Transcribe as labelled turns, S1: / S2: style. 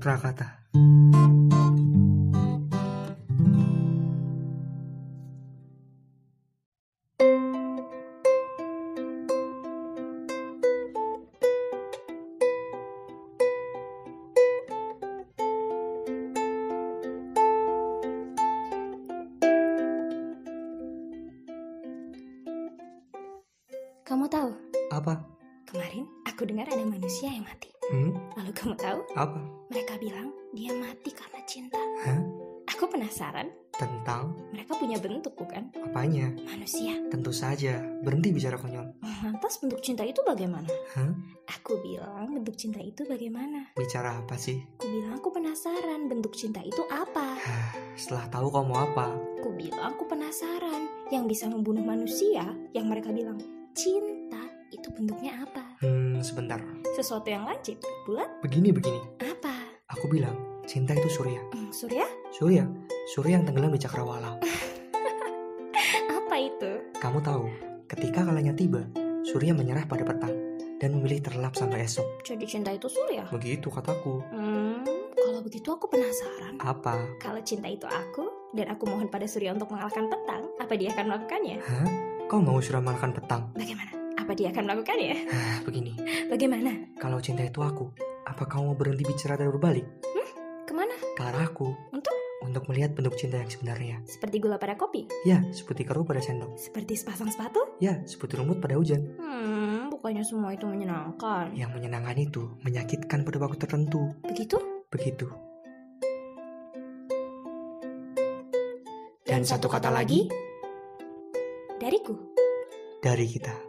S1: Prakata.
S2: Kamu tahu,
S1: Apa?
S2: kemarin aku dengar ada manusia yang mati.
S1: Hmm?
S2: Lalu kamu tahu,
S1: Apa?
S2: mereka bilang dia mati karena cinta.
S1: Hah?
S2: Aku penasaran,
S1: Tentang
S2: mereka punya bentuk bukan?
S1: apanya?
S2: Manusia.
S1: Tentu saja. Berhenti bicara konyol.
S2: Lantas bentuk cinta itu bagaimana?
S1: Hah?
S2: Aku bilang bentuk cinta itu bagaimana?
S1: Bicara apa sih?
S2: Aku bilang aku penasaran bentuk cinta itu apa?
S1: Hah, Setelah tahu kau mau apa?
S2: Aku bilang aku penasaran yang bisa membunuh manusia yang mereka bilang cinta itu bentuknya apa?
S1: Hmm, sebentar.
S2: Sesuatu yang lancip, bulat,
S1: Begini begini.
S2: apa?
S1: Aku bilang, cinta itu surya.
S2: Hmm, surya?
S1: Surya, surya yang tenggelam di cakrawala.
S2: Apa itu?
S1: Kamu tahu, ketika kalanya tiba, surya menyerah pada petang dan memilih terlelap sampai esok.
S2: Jadi cinta itu ya? surya?
S1: Begitu kataku.
S2: Hmm, kalau begitu aku penasaran.
S1: Apa?
S2: Kalau cinta itu aku dan aku mohon pada Surya untuk mengalahkan petang, apa dia akan melakukannya?
S1: Hah? Kau mau surya makan petang?
S2: Bagaimana? Apa dia akan melakukannya?
S1: Hah, begini.
S2: Bagaimana?
S1: Kalau cinta itu aku, apa kamu mau berhenti bicara dan berbalik?
S2: Kemana?
S1: Ke arahku.
S2: Untuk?
S1: Untuk melihat bentuk cinta yang sebenarnya.
S2: Seperti gula pada kopi?
S1: Ya, seperti keruh pada sendok.
S2: Seperti sepasang sepatu?
S1: Ya, seperti rumput pada hujan.
S2: Hmm, bukannya semua itu menyenangkan.
S1: Yang menyenangkan itu menyakitkan pada waktu tertentu.
S2: Begitu?
S1: Begitu.
S2: Dariku.
S1: dari kita.